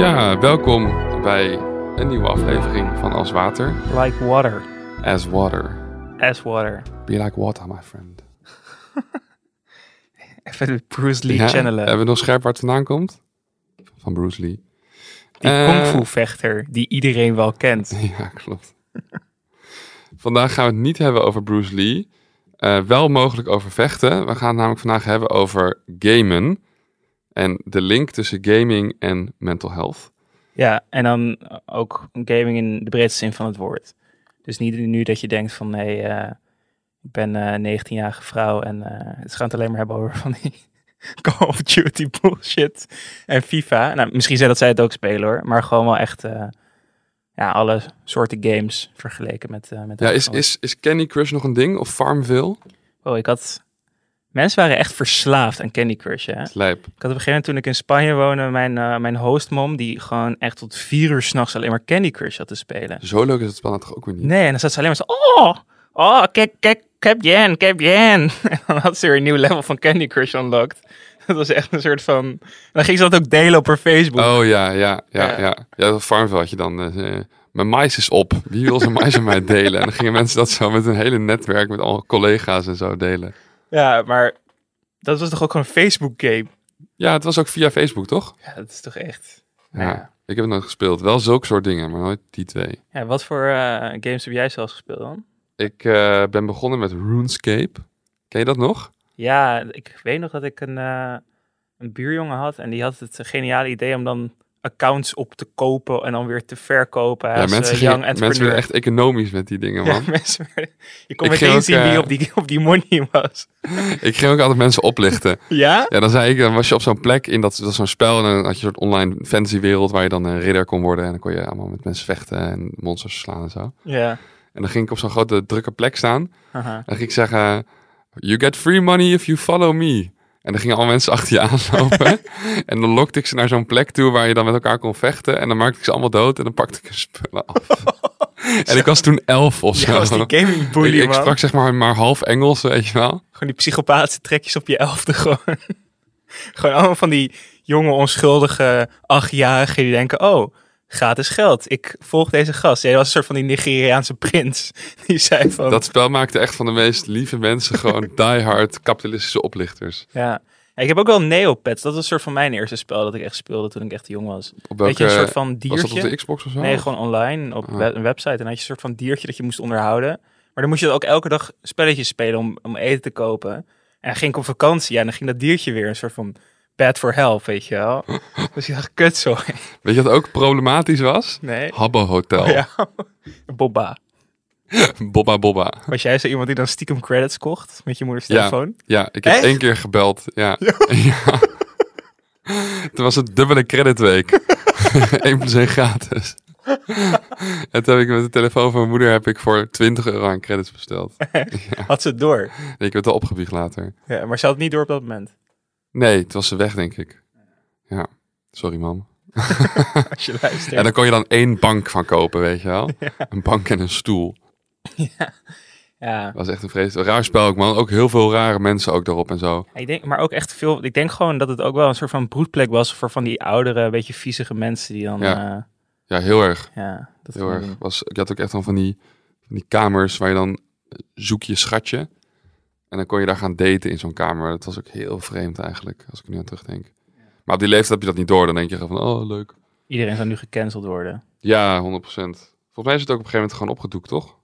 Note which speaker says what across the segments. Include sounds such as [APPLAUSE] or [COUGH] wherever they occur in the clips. Speaker 1: Eh, welkom bij een nieuwe aflevering van Als Water.
Speaker 2: Like water.
Speaker 1: As Water.
Speaker 2: As water.
Speaker 1: Be like water, my friend.
Speaker 2: Even de Bruce Lee
Speaker 1: Ja,
Speaker 2: channelen.
Speaker 1: Hebben we nog scherp waar het vandaan komt? Van Bruce Lee.
Speaker 2: die
Speaker 1: eh,
Speaker 2: kung fu vechter die iedereen wel kent.
Speaker 1: [LAUGHS] Ja, klopt. vandaag gaan we het niet hebben over Bruce Lee. Eh, wel mogelijk over vechten. We gaan het namelijk vandaag hebben over gamen. En de link tussen gaming en mental health.
Speaker 2: Ja, en dan ook gaming in de breedste zin van het woord. Dus niet nu dat je denkt van, hé, hey, eh, ik ben eh 19-jarige vrouw en eh ze gaan het alleen maar hebben over van die [LAUGHS] Call of Duty bullshit en FIFA. Nou, misschien zijn dat zij het ook spelen hoor, maar gewoon wel echt eh, ja, alle soorten games vergeleken met... eh, met
Speaker 1: Ja,
Speaker 2: dat
Speaker 1: is,
Speaker 2: van-
Speaker 1: is, is Candy Crush nog een ding? Of Farmville?
Speaker 2: Oh, ik had... Mensen waren echt verslaafd aan Candy Crush, hè?
Speaker 1: Lijp.
Speaker 2: Ik had op een gegeven moment toen ik in Spanje woonde, mijn, eh, mijn hostmom, die gewoon echt tot vier uur s'nachts alleen maar Candy Crush had te spelen.
Speaker 1: Zo leuk is het spel nou toch ook weer niet?
Speaker 2: Nee, en dan zat ze alleen maar zo, oh, oh, kijk, kijk, heb Jan, heb Jan. [LAUGHS] En dan had ze weer een nieuw level van Candy Crush unlocked. [LAUGHS] Dat was echt een soort van, dan ging ze dat ook delen op haar Facebook.
Speaker 1: Oh ja, ja, ja,
Speaker 2: Ja.
Speaker 1: ja. Ja, dat Farmville had je dan. eh, eh, mijn mais is op. Wie wil zijn mais aan
Speaker 2: [LAUGHS]
Speaker 1: mij delen? En dan gingen mensen dat zo met een hele netwerk, met al collega's en zo delen.
Speaker 2: Ja, maar dat was toch ook gewoon een Facebook game?
Speaker 1: Ja, het was ook via Facebook, toch?
Speaker 2: Ja, dat is toch echt...
Speaker 1: Ja.
Speaker 2: Ja.
Speaker 1: Ik heb het nooit gespeeld. Wel zulke soort dingen, maar nooit die twee.
Speaker 2: Ja, wat voor eh, games heb jij zelfs gespeeld dan?
Speaker 1: Ik eh, ben begonnen met RuneScape. Ken je dat nog?
Speaker 2: Ja, ik weet nog dat ik een, eh, een buurjongen had en die had het geniale idee om dan accounts op te kopen en dan weer te verkopen.
Speaker 1: ja,
Speaker 2: als,
Speaker 1: mensen,
Speaker 2: eh,
Speaker 1: gingen-
Speaker 2: young
Speaker 1: mensen werden
Speaker 2: [LAUGHS] entrepreneur.
Speaker 1: echt economisch met die dingen,
Speaker 2: Ja,
Speaker 1: man.
Speaker 2: mensen werden- je kon
Speaker 1: Ik ging
Speaker 2: meteen
Speaker 1: ook,
Speaker 2: zien wie
Speaker 1: eh,
Speaker 2: op die, op die money was.
Speaker 1: Ik ging ook altijd mensen oplichten.
Speaker 2: Ja?
Speaker 1: Ja, dan zei ik, dan was je op zo'n plek in dat, dat was zo'n spel en dan had je een soort online fantasywereld waar je dan een ridder kon worden en dan kon je allemaal met mensen vechten en monsters slaan en zo.
Speaker 2: Ja.
Speaker 1: En dan ging ik op zo'n grote drukke plek staan en
Speaker 2: Haha.
Speaker 1: dan ging ik zeggen, you get free money if you follow me. En dan gingen al mensen [LAUGHS] achter je aanlopen [LAUGHS] en dan lokte ik ze naar zo'n plek toe waar je dan met elkaar kon vechten en dan maakte ik ze allemaal dood en dan pakte ik hun spullen
Speaker 2: [LAUGHS]
Speaker 1: af. en ik was toen elf of zo.
Speaker 2: Jij was die gaming
Speaker 1: ik,
Speaker 2: bully,
Speaker 1: ik
Speaker 2: man.
Speaker 1: sprak zeg maar maar half Engels, weet je wel.
Speaker 2: Gewoon die psychopaatse trekjes op je elfde gewoon. [LAUGHS] gewoon allemaal van die jonge, onschuldige achtjarigen die denken, oh, gratis geld. Ik volg deze gast. Jij was een soort van die Nigeriaanse prins. [LAUGHS] Die zei van...
Speaker 1: Dat spel maakte echt van de meest lieve mensen
Speaker 2: [LAUGHS]
Speaker 1: gewoon diehard kapitalistische oplichters.
Speaker 2: Ja. Ja, Ik heb ook wel Neopets. Dat was een soort van mijn eerste spel dat ik echt speelde toen ik echt jong was.
Speaker 1: Op welke,
Speaker 2: Weet je, een soort van
Speaker 1: was dat op
Speaker 2: diertje.
Speaker 1: de Xbox of zo?
Speaker 2: Nee, gewoon online op
Speaker 1: Ah.
Speaker 2: we- een website. En dan had je een soort van diertje dat je moest onderhouden. Maar dan moest je ook elke dag spelletjes spelen om, om eten te kopen. En dan ging ik op vakantie. Ja, en dan ging dat diertje weer een soort van bad for hell, weet je
Speaker 1: [LAUGHS]
Speaker 2: wel. dus ik dacht, kut zo.
Speaker 1: Weet je wat ook problematisch was?
Speaker 2: Nee.
Speaker 1: Habbo Hotel.
Speaker 2: Ja. [LAUGHS] Bobba.
Speaker 1: Bobba Bobba.
Speaker 2: Was jij zo iemand die dan stiekem credits kocht met je moeders
Speaker 1: Ja.
Speaker 2: telefoon?
Speaker 1: Ja, ik heb
Speaker 2: Echt?
Speaker 1: één keer gebeld.
Speaker 2: [LAUGHS]
Speaker 1: Ja. [LAUGHS] ja. Toen was het dubbele
Speaker 2: [LAUGHS]
Speaker 1: creditweek. 1 plus 1 gratis. en toen heb ik met de telefoon van mijn moeder heb ik voor 20 euro aan credits besteld.
Speaker 2: Had ze het door.
Speaker 1: En ik heb het al opgebiecht later.
Speaker 2: Ja, maar ze had het niet door op dat moment.
Speaker 1: Nee, toen was ze weg, denk ik. Ja, sorry mam.
Speaker 2: Als je luistert.
Speaker 1: En dan kon je dan één bank van kopen, weet je wel? Een bank en een stoel.
Speaker 2: ja.
Speaker 1: Dat was echt een vreselijk raar spel ook, man. Ook heel veel rare mensen ook daarop en zo.
Speaker 2: Ik denk, maar ook echt veel. Ik denk gewoon dat het ook wel een soort van broedplek was voor van die oudere, een beetje viezige mensen die dan.
Speaker 1: Ja.
Speaker 2: Ja,
Speaker 1: Ja, heel erg.
Speaker 2: ja dat
Speaker 1: Heel
Speaker 2: gewoon
Speaker 1: erg.
Speaker 2: doen.
Speaker 1: Was, ik had ook echt dan van die, van die kamers waar je dan eh, zoek je schatje. En dan kon je daar gaan daten in zo'n kamer. Dat was ook heel vreemd eigenlijk, als ik er nu aan terugdenk. Maar op die leeftijd heb je dat niet door. Dan denk je gewoon van, oh, leuk.
Speaker 2: Iedereen zou nu gecanceld worden.
Speaker 1: Ja, 100%. Volgens mij is het ook op een gegeven moment gewoon opgedoekt, toch?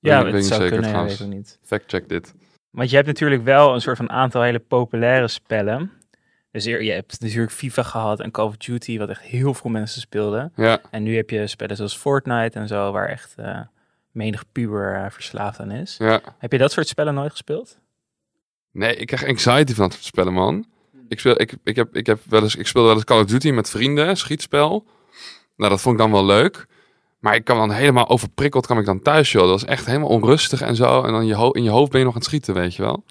Speaker 2: Ja,
Speaker 1: ik
Speaker 2: het
Speaker 1: niet
Speaker 2: zou
Speaker 1: zeker
Speaker 2: kunnen, ja,
Speaker 1: trouwens.
Speaker 2: weet ik niet.
Speaker 1: Fact check dit.
Speaker 2: Want je hebt natuurlijk wel een soort van aantal hele populaire spellen. Dus je je hebt natuurlijk FIFA gehad en Call of Duty, wat echt heel veel mensen speelden.
Speaker 1: Ja,
Speaker 2: En nu heb je spellen zoals Fortnite en zo, waar echt eh, menig puber eh, verslaafd aan is.
Speaker 1: ja.
Speaker 2: Heb je dat soort spellen nooit gespeeld?
Speaker 1: Nee, ik krijg anxiety van dat soort spellen, man. Ik, speel, ik, ik, heb, ik, heb wel eens, ik speelde wel eens Call of Duty met vrienden, schietspel. Nou, dat vond ik dan wel leuk. Maar ik kan dan helemaal overprikkeld, kan ik dan thuis, joh. Dat is echt helemaal onrustig en zo. En dan je ho- in je hoofd ben je nog aan het schieten, weet je wel.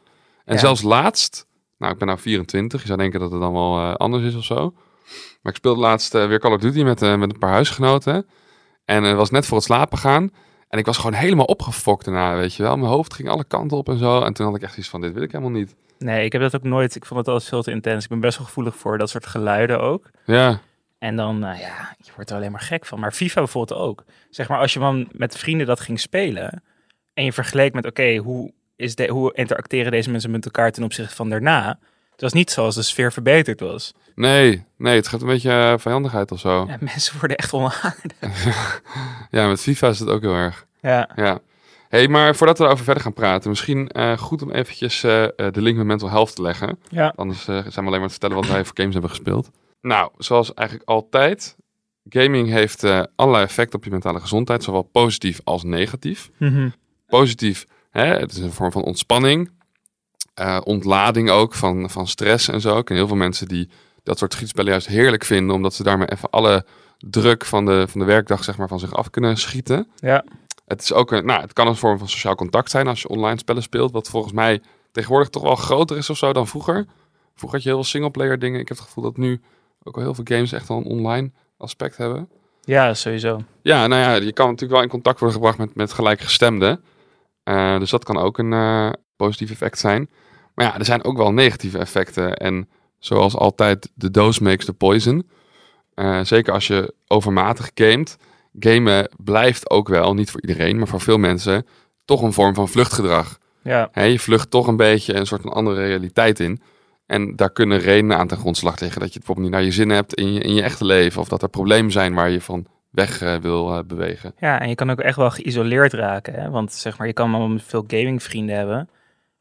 Speaker 1: En
Speaker 2: Ja.
Speaker 1: zelfs laatst, nou, ik ben nou 24. Je zou denken dat het dan wel eh, anders is of zo. Maar ik speelde laatst eh, weer Call of Duty met, eh, met een paar huisgenoten. En het was net voor het slapen gaan. En ik was gewoon helemaal opgefokt daarna, weet je wel. Mijn hoofd ging alle kanten op en zo. En toen had ik echt iets van, dit wil ik helemaal niet.
Speaker 2: Nee, ik heb dat ook nooit. Ik vond het altijd veel te intens. Ik ben best wel gevoelig voor dat soort geluiden ook.
Speaker 1: Ja,
Speaker 2: En dan, nou ja, je wordt er alleen maar gek van. Maar FIFA bijvoorbeeld ook. Zeg maar, als je dan met vrienden dat ging spelen. en je vergeleek met, oké, hoe hoe, de, hoe interacteren deze mensen met elkaar ten opzichte van daarna? Het was niet zoals de sfeer verbeterd was.
Speaker 1: Nee, nee, het gaat een beetje eh, vijandigheid of zo.
Speaker 2: Ja, [LAUGHS] mensen worden echt onaardig.
Speaker 1: Ja, met FIFA is het ook heel erg.
Speaker 2: Ja,
Speaker 1: Ja. hey, maar voordat we daarover verder gaan praten, misschien eh, goed om eventjes eh, eh, de link met mental health te leggen.
Speaker 2: ja.
Speaker 1: Anders eh, zijn we alleen maar te vertellen wat wij voor games hebben gespeeld. Nou, zoals eigenlijk altijd, gaming heeft eh, allerlei effecten op je mentale gezondheid, zowel positief als negatief.
Speaker 2: Mhm.
Speaker 1: Positief, hè, het is een vorm van ontspanning, eh, ontlading ook van, van stress en zo. Ik ken heel veel mensen die dat soort schietspellen juist heerlijk vinden, omdat ze daarmee even alle druk van de, van de werkdag zeg maar, van zich af kunnen schieten.
Speaker 2: ja.
Speaker 1: Het, is ook een, nou, het kan een vorm van sociaal contact zijn als je online spellen speelt. Wat volgens mij tegenwoordig toch wel groter is of zo dan vroeger. Vroeger had je heel veel singleplayer dingen. Ik heb het gevoel dat nu ook al heel veel games echt wel een online aspect hebben.
Speaker 2: ja, sowieso.
Speaker 1: Ja, nou ja, je kan natuurlijk wel in contact worden gebracht met, met gelijkgestemden. Eh, dus dat kan ook een eh, positief effect zijn. Maar ja, er zijn ook wel negatieve effecten. En zoals altijd, de doos makes the poison. Eh, zeker als je overmatig gamet. Gamen blijft ook wel, niet voor iedereen, maar voor veel mensen, toch een vorm van vluchtgedrag.
Speaker 2: Ja,
Speaker 1: Hè, je vlucht toch een beetje een soort van andere realiteit in. En daar kunnen redenen aan ten grondslag liggen. Dat je het bijvoorbeeld niet naar je zin hebt in je, in je echte leven. Of dat er problemen zijn waar je van weg eh, wil eh, bewegen.
Speaker 2: Ja, en je kan ook echt wel geïsoleerd raken. Hè? Want zeg maar, je kan allemaal veel gamingvrienden hebben.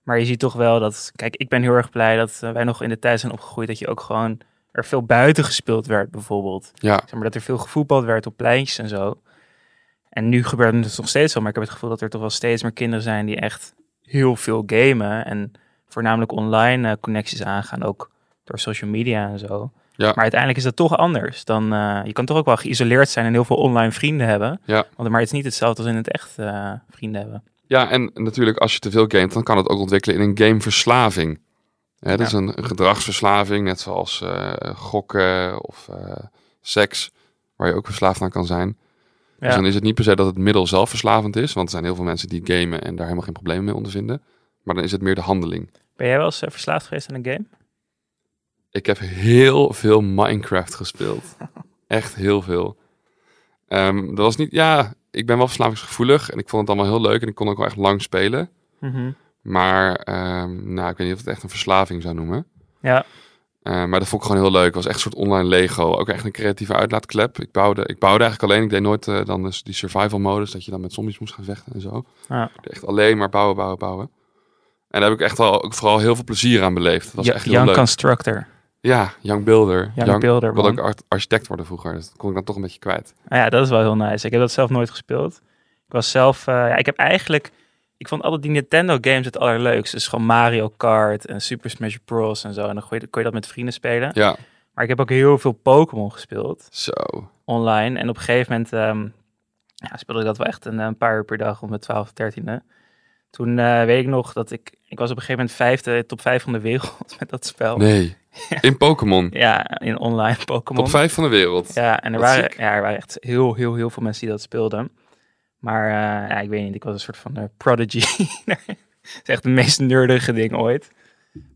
Speaker 2: Maar je ziet toch wel dat. Kijk, ik ben heel erg blij dat eh, wij nog in de tijd zijn opgegroeid. Dat je ook gewoon er veel buiten gespeeld werd, bijvoorbeeld.
Speaker 1: Ja,
Speaker 2: Zeg maar, dat er veel gevoetbald werd op pleintjes en zo. En nu gebeurt het dus nog steeds wel. Maar ik heb het gevoel dat er toch wel steeds meer kinderen zijn die echt heel veel gamen. En voornamelijk online eh, connecties aangaan. Ook door social media en zo.
Speaker 1: Ja.
Speaker 2: Maar uiteindelijk is dat toch anders. Dan, eh, je kan toch ook wel geïsoleerd zijn en heel veel online vrienden hebben.
Speaker 1: Ja.
Speaker 2: Want, maar het is niet hetzelfde als in het echt eh, vrienden hebben.
Speaker 1: ja en natuurlijk als je te veel gamet, dan kan het ook ontwikkelen in een gameverslaving. Hè, dat
Speaker 2: Ja.
Speaker 1: is een, een gedragsverslaving, net zoals eh, gokken of eh, seks, waar je ook verslaafd aan kan zijn.
Speaker 2: Ja.
Speaker 1: Dus dan is het niet per se dat het middel zelf verslavend is, want er zijn heel veel mensen die gamen en daar helemaal geen problemen mee ondervinden. Maar dan is het meer de handeling.
Speaker 2: Ben jij wel eens eh, verslaafd geweest aan een game?
Speaker 1: Ik heb heel veel Minecraft
Speaker 2: [LAUGHS]
Speaker 1: gespeeld. Echt heel veel. Ehm, dat was niet, ja, ik ben wel verslavingsgevoelig en ik vond het allemaal heel leuk en ik kon ook wel echt lang spelen. Maar ehm, nou, ik weet niet of ik het echt een verslaving zou noemen.
Speaker 2: Ja.
Speaker 1: Eh, maar dat vond ik gewoon heel leuk. Het was echt een soort online Lego. Ook echt een creatieve uitlaatklep. Ik bouwde, ik bouwde eigenlijk alleen. Ik deed nooit eh, dan dus die survival modus. Dat je dan met zombies moest gaan vechten en zo.
Speaker 2: Ja.
Speaker 1: Echt alleen maar bouwen, bouwen, bouwen. En daar heb ik echt wel, ook vooral heel veel plezier aan beleefd. Dat was
Speaker 2: Ja,
Speaker 1: echt heel
Speaker 2: Young
Speaker 1: leuk.
Speaker 2: Constructor.
Speaker 1: Ja, Young Builder.
Speaker 2: Young,
Speaker 1: Young-
Speaker 2: Builder,
Speaker 1: ik wilde
Speaker 2: man.
Speaker 1: ook art- architect worden vroeger. Dus dat kon ik dan toch een beetje kwijt.
Speaker 2: Nou ja, dat is wel heel nice. Ik heb dat zelf nooit gespeeld. Ik was zelf, eh, ja, ik heb eigenlijk, ik vond altijd die Nintendo games het allerleukst. Dus gewoon Mario Kart en Super Smash Bros. en zo. En dan kon je, kon je dat met vrienden spelen.
Speaker 1: Ja,
Speaker 2: Maar ik heb ook heel veel Pokémon gespeeld
Speaker 1: zo.
Speaker 2: online. En op een gegeven moment ehm, ja, speelde ik dat wel echt een, een paar uur per dag om mijn 12, 13e. Toen eh, weet ik nog dat ik, ik was op een gegeven moment vijfde, top 5 van de wereld [LAUGHS] met dat spel. [LAUGHS]
Speaker 1: Nee. In Pokémon.
Speaker 2: Ja, in online [LAUGHS] Pokémon.
Speaker 1: Top 5 van de wereld.
Speaker 2: Ja, en er
Speaker 1: Wat
Speaker 2: waren,
Speaker 1: ziek.
Speaker 2: ja, er waren echt heel, heel, heel veel mensen die dat speelden. Maar eh, ja, ik weet niet, ik was een soort van eh, prodigy. [LAUGHS] Het is echt de meest nerdige ding ooit.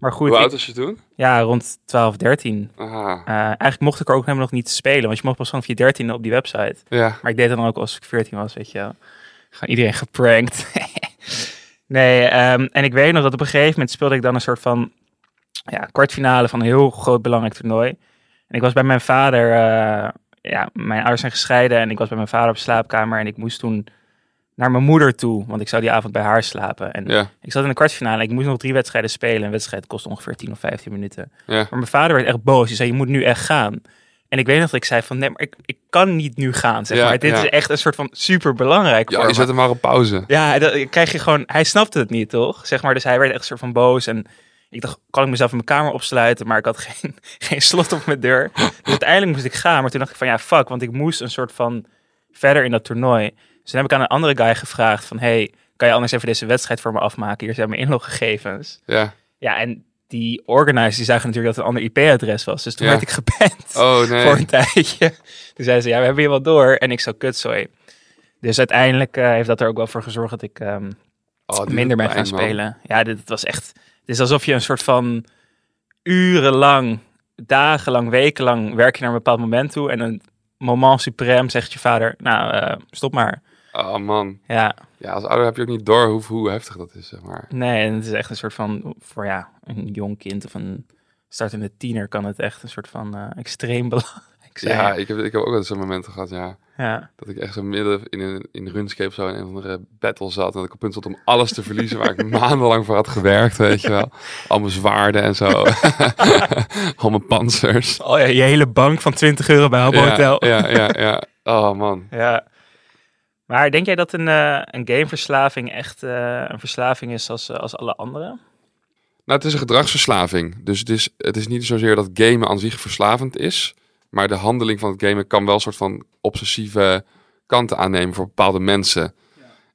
Speaker 2: Maar goed,
Speaker 1: Hoe
Speaker 2: ik-
Speaker 1: oud was je toen?
Speaker 2: ja, rond 12, 13.
Speaker 1: Aha.
Speaker 2: Eh, eigenlijk mocht ik er ook helemaal nog niet spelen, want je mocht pas vanaf je 13 op die website.
Speaker 1: Ja.
Speaker 2: Maar ik deed dat dan ook als ik 14 was, weet je wel. Gewoon iedereen geprankt. [LAUGHS] nee, ehm, en ik weet nog dat op een gegeven moment speelde ik dan een soort van ja, kwartfinale van een heel groot belangrijk toernooi. En ik was bij mijn vader, eh, ja, mijn ouders zijn gescheiden en ik was bij mijn vader op slaapkamer en ik moest toen naar mijn moeder toe, want ik zou die avond bij haar slapen. En
Speaker 1: Ja.
Speaker 2: ik zat in de kwartfinale, ik moest nog drie wedstrijden spelen. Een wedstrijd kost ongeveer 10 of 15 minuten.
Speaker 1: Ja.
Speaker 2: Maar mijn vader werd echt boos. Hij zei, je moet nu echt gaan. En ik weet nog dat ik zei van, nee, maar ik, ik kan niet nu gaan, zeg
Speaker 1: Ja,
Speaker 2: maar. Dit
Speaker 1: ja.
Speaker 2: is echt een soort van superbelangrijk
Speaker 1: Ja,
Speaker 2: voor
Speaker 1: je
Speaker 2: me.
Speaker 1: zet hem maar op pauze.
Speaker 2: Ja, dat krijg je gewoon... Hij snapte het niet, toch? Zeg maar, dus hij werd echt een soort van boos. En ik dacht, kan ik mezelf in mijn kamer opsluiten? Maar ik had [LAUGHS] geen, geen slot op mijn deur. Dus uiteindelijk moest ik gaan. Maar toen dacht ik van, ja, fuck. Want ik moest een soort van verder in dat toernooi. Dus toen heb ik aan een andere guy gevraagd van... Hey, kan je anders even deze wedstrijd voor me afmaken? Hier zijn mijn inloggegevens.
Speaker 1: Ja.
Speaker 2: Ja, en die organizers die zagen natuurlijk dat het een ander IP-adres was. Dus toen
Speaker 1: Ja.
Speaker 2: werd ik geband
Speaker 1: Oh nee.
Speaker 2: [LAUGHS] voor een tijdje. Toen zei ze, ja, we hebben je wel door. En ik zo, kut, sorry. Dus uiteindelijk eh, heeft dat er ook wel voor gezorgd dat ik ehm,
Speaker 1: Oh, dit
Speaker 2: minder
Speaker 1: doet
Speaker 2: ben gaan
Speaker 1: pijn, man.
Speaker 2: spelen. Ja, dit, het was echt... Het is alsof je een soort van urenlang dagenlang, wekenlang werk je naar een bepaald moment toe. En een moment suprem zegt je vader, nou, eh, stop maar.
Speaker 1: Oh man.
Speaker 2: Ja,
Speaker 1: Ja, als ouder heb je ook niet door hoe, hoe heftig dat is, zeg maar.
Speaker 2: nee, en het is echt een soort van, voor ja, een jong kind of een startende tiener kan het echt een soort van eh, extreem [LAUGHS] belangrijk zijn.
Speaker 1: Ja, ik heb, ik heb ook wel zo'n momenten gehad, ja.
Speaker 2: ja.
Speaker 1: Dat ik echt zo midden in een in RuneScape zo in een of andere battle zat. En dat ik op punt stond om alles te verliezen waar ik maandenlang voor had gewerkt, weet je wel. Al mijn zwaarden en zo. Al mijn panzers.
Speaker 2: Oh ja, je hele bank van 20 euro bij Habbo
Speaker 1: Ja,
Speaker 2: Hotel.
Speaker 1: ja, ja, ja. Oh man.
Speaker 2: Ja. Maar denk jij dat een, eh, een gameverslaving echt eh, een verslaving is als, eh, als alle andere?
Speaker 1: Nou, het is een gedragsverslaving. Dus het is, het is niet zozeer dat gamen aan zich verslavend is. Maar de handeling van het gamen kan wel een soort van obsessieve kanten aannemen voor bepaalde mensen.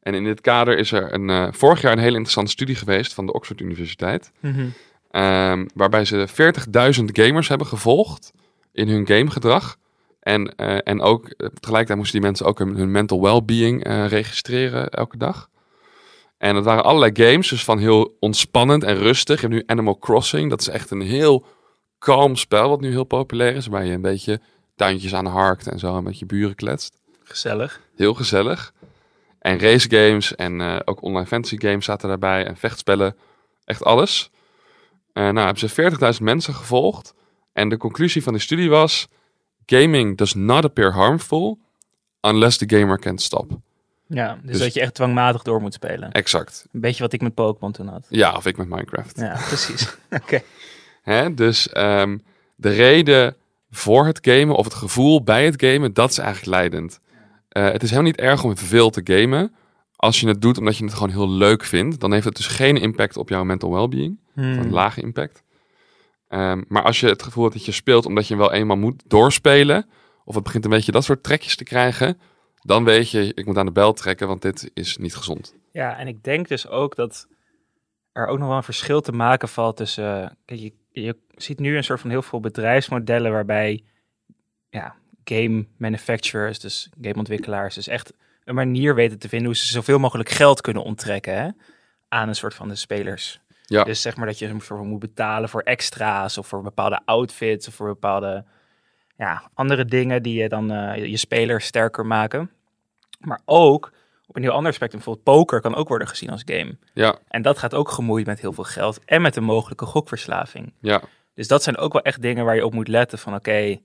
Speaker 1: En in dit kader is er een, eh, vorig jaar een hele interessante studie geweest van de Oxford Universiteit.
Speaker 2: Mhm.
Speaker 1: Ehm, waarbij ze 40.000 gamers hebben gevolgd in hun gamegedrag. En, eh, en ook eh, tegelijkertijd moesten die mensen ook hun, hun mental well-being eh, registreren elke dag. En dat waren allerlei games, dus van heel ontspannend en rustig. Je hebt nu Animal Crossing, dat is echt een heel kalm spel, wat nu heel populair is. Waar je een beetje tuintjes aan harkt en zo, en met je buren kletst.
Speaker 2: Gezellig.
Speaker 1: Heel gezellig. En race games en eh, ook online fantasy games zaten daarbij. En vechtspellen. Echt alles. Eh nou, hebben ze 40.000 mensen gevolgd. En de conclusie van die studie was... Gaming does not appear harmful unless the gamer can stop.
Speaker 2: Ja, dus,
Speaker 1: Dus-
Speaker 2: dat je echt dwangmatig door moet spelen.
Speaker 1: Exact.
Speaker 2: Een beetje wat ik met Pokémon toen had.
Speaker 1: Ja, of ik met Minecraft.
Speaker 2: Ja, precies. Oké.
Speaker 1: Hè? Dus ehm, de reden voor het gamen of het gevoel bij het gamen, dat is eigenlijk leidend. Eh, het is helemaal niet erg om veel te gamen. Als je het doet omdat je het gewoon heel leuk vindt, dan heeft het dus geen impact op jouw mental well-being.
Speaker 2: [LAUGHS] Hmm.
Speaker 1: Een lage impact. Ehm, maar als je het gevoel hebt dat je speelt omdat je hem wel eenmaal moet doorspelen, of het begint een beetje dat soort trekjes te krijgen, dan weet je, ik moet aan de bel trekken, want dit is niet gezond.
Speaker 2: Ja, en ik denk dus ook dat er ook nog wel een verschil te maken valt tussen... eh, kijk, je, je ziet nu een soort van heel veel bedrijfsmodellen waarbij ja, game manufacturers, dus gameontwikkelaars, dus echt een manier weten te vinden hoe ze zoveel mogelijk geld kunnen onttrekken hè, aan een soort van de spelers.
Speaker 1: Ja.
Speaker 2: Dus zeg maar dat je een soort van moet betalen voor extra's of voor bepaalde outfits of voor bepaalde ja, andere dingen die je dan eh, je- je speler sterker maken. Maar ook op een heel ander aspect, bijvoorbeeld poker kan ook worden gezien als game.
Speaker 1: Ja,
Speaker 2: En dat gaat ook gemoeid met heel veel geld en met een mogelijke gokverslaving.
Speaker 1: ja,
Speaker 2: Dus dat zijn ook wel echt dingen waar je op moet letten van oké,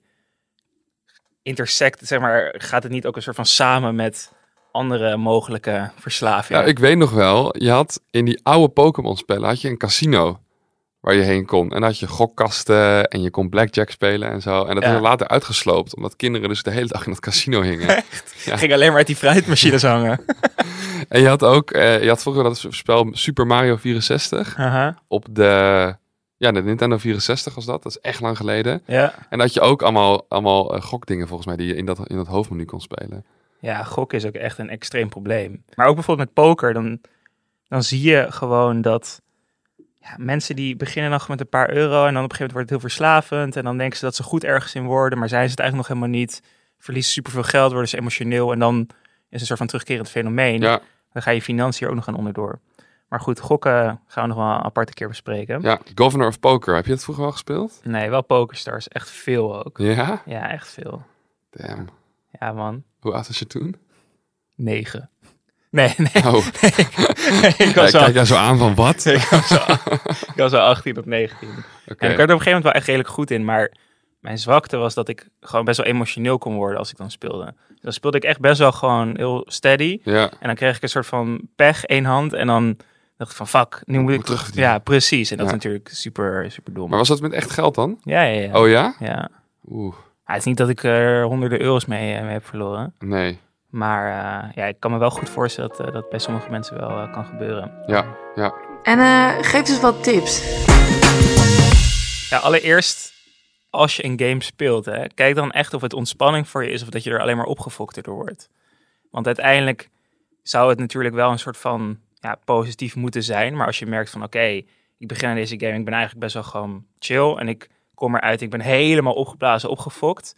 Speaker 2: intersect, zeg maar, gaat het niet ook een soort van samen met andere mogelijke
Speaker 1: Ja,
Speaker 2: verslavingen?
Speaker 1: ik weet nog wel, je had in die oude Pokémon-spellen had je een casino waar je heen kon. En dan had je gokkasten en je kon blackjack spelen en zo. En dat
Speaker 2: Ja.
Speaker 1: is er later uitgesloopt, omdat kinderen dus de hele dag in dat casino hingen. [LAUGHS] ja.
Speaker 2: Ging alleen maar uit die fruitmachines [LAUGHS] hangen.
Speaker 1: en je had ook, eh, je had vroeger dat spel Super Mario 64
Speaker 2: Aha,
Speaker 1: op de, ja, de Nintendo 64 was dat. Dat is echt lang geleden.
Speaker 2: ja.
Speaker 1: En dat had je ook allemaal, allemaal eh, gokdingen volgens mij die je in dat, in dat hoofdmenu kon spelen.
Speaker 2: Ja, gokken is ook echt een extreem probleem. Maar ook bijvoorbeeld met poker, dan, dan zie je gewoon dat ja, mensen die beginnen nog met een paar euro en dan op een gegeven moment wordt het heel verslavend. En dan denken ze dat ze goed ergens in worden, maar zijn ze het eigenlijk nog helemaal niet. Verliezen superveel geld, worden ze emotioneel en dan is een soort van terugkerend fenomeen.
Speaker 1: Ja,
Speaker 2: Dan ga je financiën er ook nog aan onderdoor. Maar goed, gokken gaan we nog wel een aparte keer bespreken.
Speaker 1: ja, Governor of Poker, heb je dat vroeger wel gespeeld?
Speaker 2: Nee, wel pokerstars. Echt veel ook.
Speaker 1: Ja?
Speaker 2: Ja, echt veel.
Speaker 1: Damn.
Speaker 2: Ja, man.
Speaker 1: Hoe oud was je toen?
Speaker 2: Negen. Nee, [LAUGHS] nee.
Speaker 1: Oh,
Speaker 2: [LAUGHS] ik
Speaker 1: ja, ik
Speaker 2: was al
Speaker 1: kijk daar zo aan van wat?
Speaker 2: [LAUGHS] ik, was al, ik was al 18 of 19.
Speaker 1: Oké.
Speaker 2: En ik werd er op een gegeven moment wel echt redelijk goed in. Maar mijn zwakte was dat ik gewoon best wel emotioneel kon worden als ik dan speelde. Dus dan speelde ik echt best wel gewoon heel steady.
Speaker 1: Ja,
Speaker 2: En dan kreeg ik een soort van pech, één hand. En dan dacht ik van fuck, nu moet
Speaker 1: moet
Speaker 2: ik...
Speaker 1: terugverdienen.
Speaker 2: Ja, precies. En dat
Speaker 1: Ja.
Speaker 2: is natuurlijk super, super dom.
Speaker 1: Maar was dat met echt geld dan?
Speaker 2: Ja, ja, ja.
Speaker 1: Oh ja?
Speaker 2: ja.
Speaker 1: Oeh,
Speaker 2: Ah, het is niet dat ik er honderden euro's mee, eh, mee heb verloren.
Speaker 1: nee.
Speaker 2: Maar eh, ja, ik kan me wel goed voorstellen dat eh, dat bij sommige mensen wel eh, kan gebeuren.
Speaker 1: Ja, ja.
Speaker 3: En eh, geef eens wat tips.
Speaker 2: Ja, allereerst, als je een game speelt, hè, kijk dan echt of het ontspanning voor je is of dat je er alleen maar opgefokter door wordt. Want uiteindelijk zou het natuurlijk wel een soort van ja, positief moeten zijn. Maar als je merkt van oké, ik begin aan deze game, ik ben eigenlijk best wel gewoon chill en ik kom eruit, ik ben helemaal opgeblazen, opgefokt.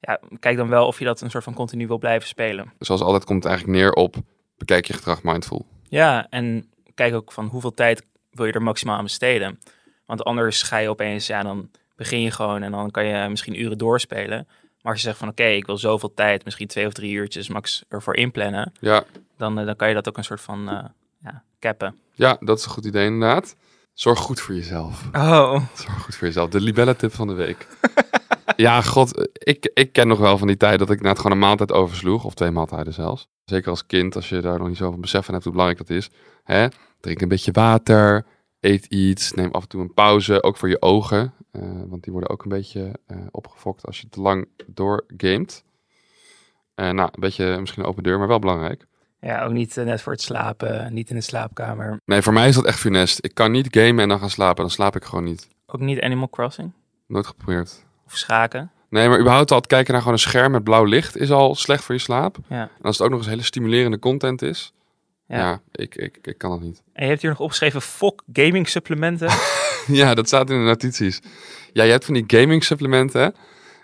Speaker 2: Ja, kijk dan wel of je dat een soort van continu wil blijven spelen.
Speaker 1: Zoals altijd komt het eigenlijk neer op bekijk je gedrag mindful.
Speaker 2: Ja, en kijk ook van hoeveel tijd wil je er maximaal aan besteden. Want anders ga je opeens, ja, dan begin je gewoon en dan kan je misschien uren doorspelen. Maar als je zegt van oké, ik wil zoveel tijd, misschien twee of drie uurtjes max ervoor inplannen,
Speaker 1: Ja,
Speaker 2: dan, eh, dan kan je dat ook een soort van eh ja, cappen.
Speaker 1: ja, dat is een goed idee inderdaad. Zorg goed voor jezelf.
Speaker 2: Oh.
Speaker 1: Zorg goed voor jezelf. De libelle-tip van de week. [LAUGHS] ja, god, ik, ik ken nog wel van die tijd dat ik net gewoon een maaltijd oversloeg. Of twee maaltijden zelfs. Zeker als kind, als je daar nog niet zoveel besef van hebt hoe belangrijk dat is. Hè? Drink een beetje water, eet iets, neem af en toe een pauze. Ook voor je ogen, eh, want die worden ook een beetje eh, opgefokt als je te lang doorgamet. Eh nou, een beetje misschien een open deur, maar wel belangrijk.
Speaker 2: Ja, ook niet eh, net voor het slapen, niet in de slaapkamer.
Speaker 1: Nee, voor mij is dat echt funest. Ik kan niet gamen en dan gaan slapen. Dan slaap ik gewoon niet.
Speaker 2: Ook niet Animal Crossing
Speaker 1: Nooit geprobeerd.
Speaker 2: of schaken.
Speaker 1: Nee, maar überhaupt al het kijken naar gewoon een scherm met blauw licht is al slecht voor je slaap.
Speaker 2: Ja.
Speaker 1: En als het ook nog eens hele stimulerende content is.
Speaker 2: Ja.
Speaker 1: Ja, ik, ik, ik kan dat niet. [LAUGHS]
Speaker 2: En je hebt hier nog opgeschreven, fok gaming [LAUGHS] supplementen.
Speaker 1: ja, dat staat in de notities. Ja, je hebt van die gaming supplementen.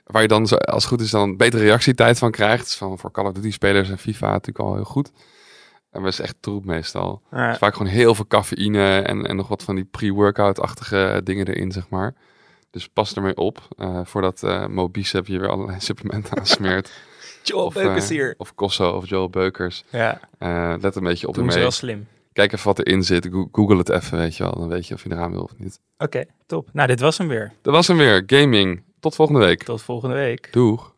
Speaker 1: Waar je dan, zo- als het goed is, dan betere reactietijd van krijgt. Is Van, voor Call of Duty spelers en FIFA natuurlijk al heel goed. En dat is echt troep meestal. Het
Speaker 2: Maar
Speaker 1: is vaak gewoon heel veel cafeïne en, en nog wat van die pre-workout-achtige dingen erin, zeg maar. Dus pas ermee op, eh, voordat eh Mobicep je weer allerlei [LAUGHS] supplementen aansmeert.
Speaker 2: Joe,
Speaker 1: eh,
Speaker 2: leuk is hier.
Speaker 1: Of Kosso of Joel Beukers.
Speaker 2: Ja,
Speaker 1: Eh, let een beetje op
Speaker 2: doen ze
Speaker 1: ermee.
Speaker 2: wel slim.
Speaker 1: Kijk even wat erin zit. Go- Google het even, weet je wel. Dan weet je of je eraan wil of niet.
Speaker 2: Oké, top. Nou, dit was hem weer.
Speaker 1: Dat was hem weer. Gaming. Tot volgende week.
Speaker 2: Tot volgende week.
Speaker 1: Doeg.